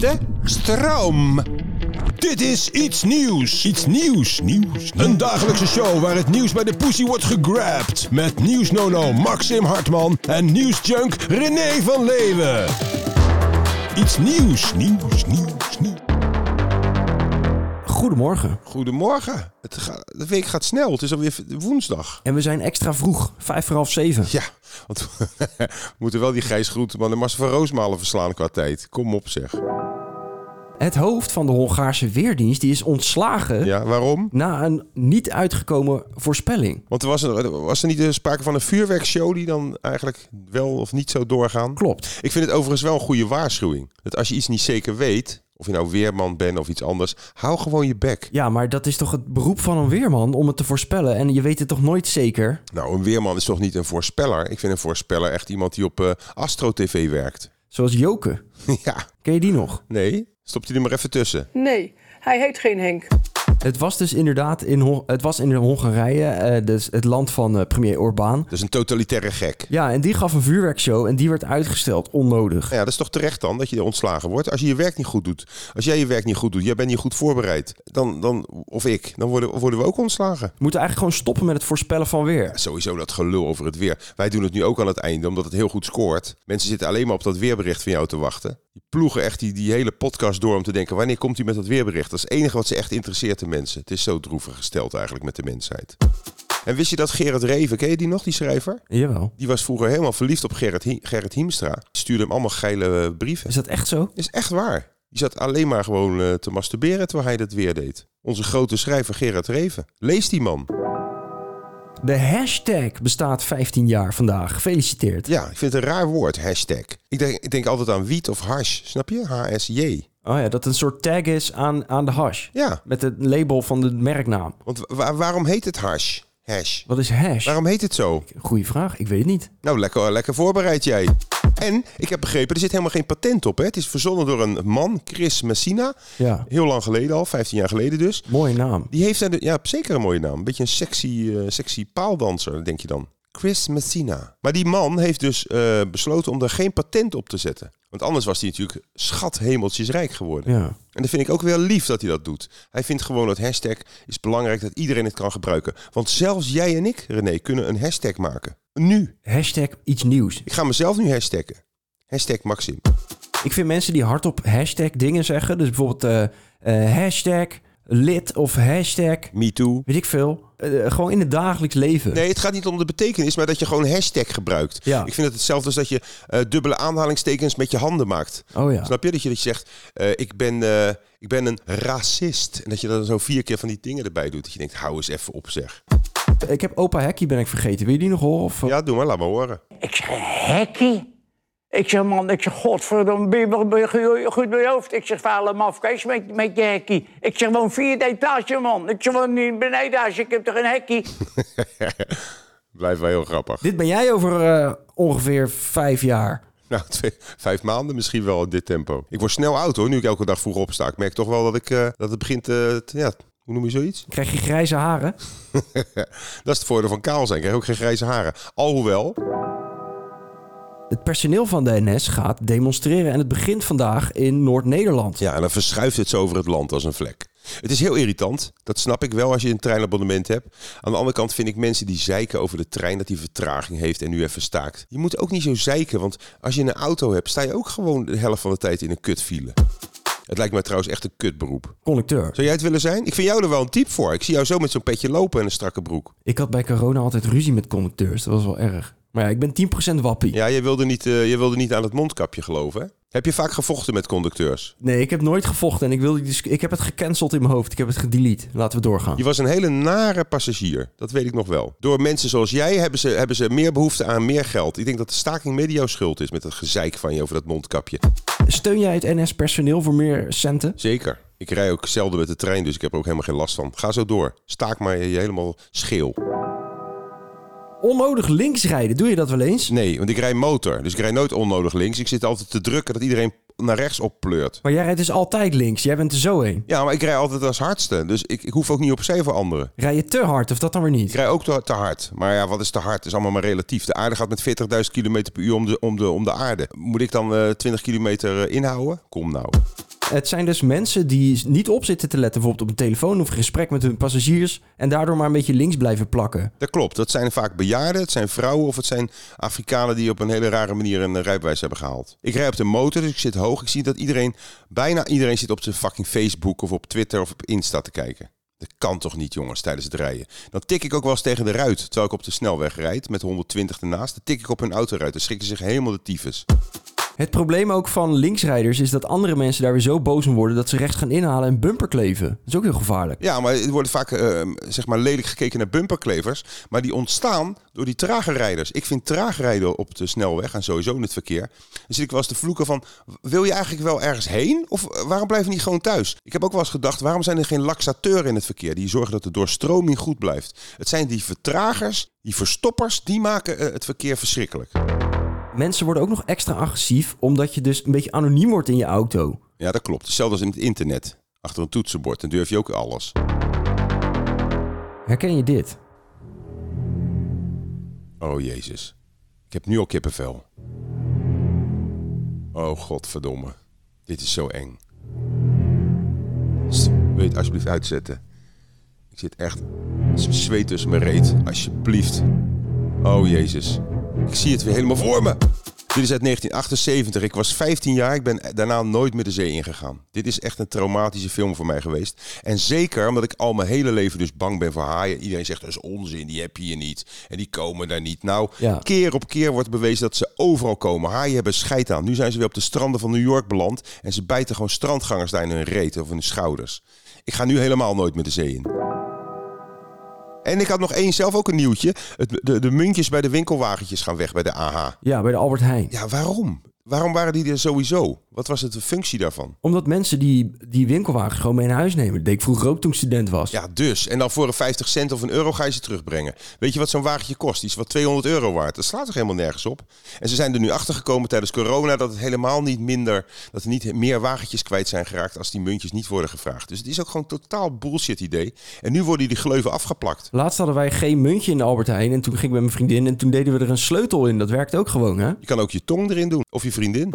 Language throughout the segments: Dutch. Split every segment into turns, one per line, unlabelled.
De stroom. Dit is iets nieuws. Iets nieuws. Nieuws. Een dagelijkse show waar het nieuws bij de poesie wordt gegrabt. Met nieuwsnono Maxim Hartman en nieuwsjunk René van Leeuwen. Iets nieuws. Nieuws. Nieuws. Nieuws.
Goedemorgen.
Goedemorgen. Het gaat, de week gaat snel. Het is alweer woensdag.
En we zijn extra vroeg, vijf voor half zeven.
Ja, want we moeten wel die Gijs Groenteman en Marcel van Roosmalen verslaan qua tijd. Kom op zeg.
Het hoofd van de Hongaarse Weerdienst die is ontslagen
Ja, waarom?
na een niet uitgekomen voorspelling.
Want er was, er, was er niet eh, sprake van een vuurwerkshow die dan eigenlijk wel of niet zou doorgaan?
Klopt.
Ik vind het overigens wel een goede waarschuwing. Dat als je iets niet zeker weet, of je nou weerman bent of iets anders, hou gewoon je bek.
Ja, maar dat is toch het beroep van een weerman om het te voorspellen. En je weet het toch nooit zeker?
Nou, een weerman is toch niet een voorspeller? Ik vind een voorspeller echt iemand die op eh, Astro TV werkt.
Zoals Joke.
ja,
Ken je die nog?
nee. Stopt hij er maar even tussen.
Nee, hij heet geen Henk.
Het was dus inderdaad in, Hon- het was in Hongarije, eh, dus het land van eh, premier Orbán.
Dat is een totalitaire gek.
Ja, en die gaf een vuurwerkshow en die werd uitgesteld, onnodig.
Nou ja, dat is toch terecht dan, dat je ontslagen wordt. Als je je werk niet goed doet, als jij je werk niet goed doet, jij bent niet goed voorbereid, dan, dan of ik, dan worden, worden we ook ontslagen.
We moeten eigenlijk gewoon stoppen met het voorspellen van weer.
Sowieso dat gelul over het weer. Wij doen het nu ook aan het einde, omdat het heel goed scoort. Mensen zitten alleen maar op dat weerbericht van jou te wachten. Die ploegen echt die, die hele podcast door om te denken... wanneer komt hij met dat weerbericht? Dat is het enige wat ze echt interesseert de mensen. Het is zo droevig gesteld eigenlijk met de mensheid. En wist je dat Gerard Reven, ken je die nog, die schrijver?
Jawel.
Die was vroeger helemaal verliefd op Gerrit, Hi- Gerrit Hiemstra. Stuurde hem allemaal geile eh, brieven.
Is dat echt zo?
Is echt waar. Die zat alleen maar gewoon eh, te masturberen terwijl hij dat weer deed. Onze grote schrijver Gerard Reven. Lees die man.
De hashtag bestaat 15 jaar vandaag. Gefeliciteerd.
Ja, ik vind het een raar woord, hashtag. Ik denk, ik denk altijd aan wiet of hash, snap je? HSJ.
Oh ja, dat het een soort tag is aan, aan de hash.
Ja,
Met het label van de merknaam.
want wa- waarom heet het hash? Hash.
Wat is hash?
Waarom heet het zo?
Goeie vraag, ik weet het niet.
Nou, lekker, lekker voorbereid jij. En, ik heb begrepen, er zit helemaal geen patent op. Hè? Het is verzonnen door een man, Chris Messina.
Ja,
Heel lang geleden al, 15 jaar geleden dus.
mooie naam.
Die heeft daar de- ja, zeker een mooie naam. Een beetje een sexy, eh, sexy paaldanser, denk je dan. Chris Messina. Maar die man heeft dus eh, besloten om daar geen patent op te zetten. Want anders was hij natuurlijk schat rijk geworden.
Ja.
En dat vind ik ook wel lief dat hij dat doet. Hij vindt gewoon dat hashtag is belangrijk dat iedereen het kan gebruiken. Want zelfs jij en ik, René, kunnen een hashtag maken. Nu.
Hashtag iets nieuws.
Ik ga mezelf nu hashtaggen. Hashtag Maxim.
Ik vind mensen die hardop hashtag dingen zeggen, dus bijvoorbeeld eh, eh, hashtag lid of hashtag
Me too.
weet ik veel, eh, gewoon in het dagelijks leven.
Nee, het gaat niet om de betekenis, maar dat je gewoon hashtag gebruikt.
Ja.
Ik vind het hetzelfde als dat je eh, dubbele aanhalingstekens met je handen maakt.
Oh ja.
Snap je? Dat je, dat je zegt, eh, ik, ben, eh, ik ben een racist. En dat je dan zo vier keer van die dingen erbij doet. Dat je denkt, hou eens even op zeg.
Ik heb opa Hekkie ben ik vergeten. Wil je die nog horen? Of, eh,
Ja, doe maar, laat maar horen.
Ik zeg, hekkie? Ik zeg, man, ik zeg, godverdomme, ben je wel- ben je goed- goed bij je hoofd? Ik zeg, vuile mafkees met, met je hekkie. Ik zeg, woon vierde etage, man. Ik zeg, woon niet beneden, als ik heb toch een hekkie?
Blijft wel heel grappig.
Dit ben jij over eh, ongeveer vijf jaar.
Nou, twee, vijf maanden misschien wel in dit tempo. Ik word snel oud hoor, nu ik elke dag vroeg opsta. Ik merk toch wel dat, ik, eh, dat het begint, eh, te- ja, hoe noem je zoiets?
Krijg je grijze haren?
Dat is het voordeel van kaal zijn. Ik krijg ook geen grijze haren. Alhoewel,
Het personeel van de NS gaat demonstreren en het begint vandaag in Noord-Nederland.
ja, en dan verschuift het zo over het land als een vlek. Het is heel irritant. Dat snap ik wel als je een treinabonnement hebt. Aan de andere kant vind ik mensen die zeiken over de trein dat die vertraging heeft en nu even staakt. Je moet ook niet zo zeiken, want als je een auto hebt, sta je ook gewoon de helft van de tijd in een kutfile. Het lijkt mij trouwens echt een kutberoep.
Conducteur.
Zou jij het willen zijn? Ik vind jou er wel een type voor. Ik zie jou zo met zo'n petje lopen en een strakke broek.
Ik had bij corona altijd ruzie met conducteurs. Dat was wel erg. Maar ja, ik ben 10% wappie.
Ja, je wilde niet, eh, je wilde niet aan het mondkapje geloven, hè? Heb je vaak gevochten met conducteurs?
Nee, ik heb nooit gevochten en ik, wilde, die dis- ik heb het gecanceld in mijn hoofd. Ik heb het gedelete. Laten we doorgaan.
Je was een hele nare passagier, dat weet ik nog wel. Door mensen zoals jij hebben ze, hebben ze meer behoefte aan meer geld. Ik denk dat de staking mede jouw schuld is met het gezeik van je over dat mondkapje.
Steun jij het NS-personeel voor meer centen?
Zeker. Ik rij ook zelden met de trein, dus ik heb er ook helemaal geen last van. Ga zo door. Staak maar je helemaal scheel.
Onnodig links rijden, doe je dat wel eens?
Nee, want ik rij motor, dus ik rij nooit onnodig links. Ik zit altijd te drukken dat iedereen naar rechts oppleurt.
Maar jij rijdt dus altijd links. Jij bent er zo heen.
Ja, maar ik rij altijd als hardste, dus ik, ik hoef ook niet opzij voor anderen.
Rij je te hard of dat dan weer niet?
Ik rij ook te, te hard. Maar ja, wat is te hard? Het is allemaal maar relatief. De aarde gaat met 40.000 km per uur om de, om, de, om de aarde. Moet ik dan eh, 20 kilometer eh, inhouden? Kom nou.
Het zijn dus mensen die niet op zitten te letten, bijvoorbeeld op een telefoon of een gesprek met hun passagiers. En daardoor maar een beetje links blijven plakken.
Dat klopt. Dat zijn vaak bejaarden, het zijn vrouwen of het zijn Afrikanen die op een hele rare manier een eh, rijbewijs hebben gehaald. Ik rij op de motor, dus ik zit hoog. Ik zie dat iedereen, bijna iedereen zit op zijn fucking Facebook of op Twitter of op Insta te kijken. Dat kan toch niet, jongens, tijdens het rijden. Dan tik ik ook wel eens tegen de ruit, terwijl ik op de snelweg rijd met 120 ernaast. Dan tik ik op hun autoruit, dan schrikken ze zich helemaal de tyfus.
Het probleem ook van linksrijders is dat andere mensen daar weer zo boos om worden dat ze rechts gaan inhalen en bumper kleven. Dat is ook heel gevaarlijk.
Ja, maar er wordt vaak eh, zeg maar lelijk gekeken naar bumperklevers. Maar die ontstaan door die trage rijders. Ik vind trage rijden op de snelweg en sowieso in het verkeer. Dan zit ik wel eens te vloeken van, wil je eigenlijk wel ergens heen? Of eh, waarom blijf je niet gewoon thuis? Ik heb ook wel eens gedacht, waarom zijn er geen laxateuren in het verkeer? Die zorgen dat de doorstroming goed blijft. Het zijn die vertragers, die verstoppers, die maken eh, het verkeer verschrikkelijk.
Mensen worden ook nog extra agressief omdat je dus een beetje anoniem wordt in je auto.
Ja, dat klopt. Hetzelfde als in het internet. Achter een toetsenbord, dan durf je ook alles.
Herken je dit?
Oh jezus. Ik heb nu al kippenvel. Oh godverdomme. Dit is zo eng. Sst, Wil je het alsjeblieft uitzetten? Ik zit echt zweet tussen mijn reet. Alsjeblieft. Oh jezus. Ik zie het weer helemaal voor me. Dit is uit 1978. Ik was 15 jaar. Ik ben daarna nooit meer de zee ingegaan. Dit is echt een traumatische film voor mij geweest. En zeker omdat ik al mijn hele leven dus bang ben voor haaien. Iedereen zegt dat is onzin. Die heb je hier niet. En die komen daar niet. Nou,
Ja.
keer op keer wordt bewezen dat ze overal komen. Haaien hebben scheid aan. Nu zijn ze weer op de stranden van New York beland. En ze bijten gewoon strandgangers daar in hun reet of in hun schouders. Ik ga nu helemaal nooit meer de zee in. En ik had nog één zelf ook een nieuwtje. Het, de, de muntjes bij de winkelwagentjes gaan weg bij de AH.
Ja, bij de Albert Heijn.
Ja, waarom? Waarom waren die er sowieso? Wat was het de functie daarvan?
Omdat mensen die, die winkelwagens gewoon mee naar huis nemen. Dat deed ik vroeger ook toen ik student was.
Ja, dus. En dan voor een 50 cent of een euro ga je ze terugbrengen. Weet je wat zo'n wagentje kost? Die is wat 200 euro waard. Dat slaat toch helemaal nergens op? En ze zijn er nu achter gekomen tijdens corona dat het helemaal niet minder, dat er niet meer wagentjes kwijt zijn geraakt als die muntjes niet worden gevraagd. Dus het is ook gewoon totaal bullshit idee. En nu worden die gleuven afgeplakt.
Laatst hadden wij geen muntje in de Albert Heijn. En toen ging ik met mijn vriendin en toen deden we er een sleutel in. Dat werkt ook gewoon, hè?
Je kan ook je tong erin doen. Of je vriendin.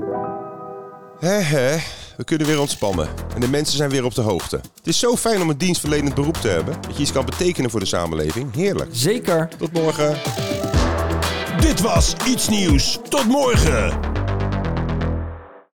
Hè hè, we kunnen weer ontspannen. En de mensen zijn weer op de hoogte. Het is zo fijn om een dienstverlenend beroep te hebben. Dat je iets kan betekenen voor de samenleving. Heerlijk.
Zeker.
Tot morgen.
Dit was Iets Nieuws. Tot morgen.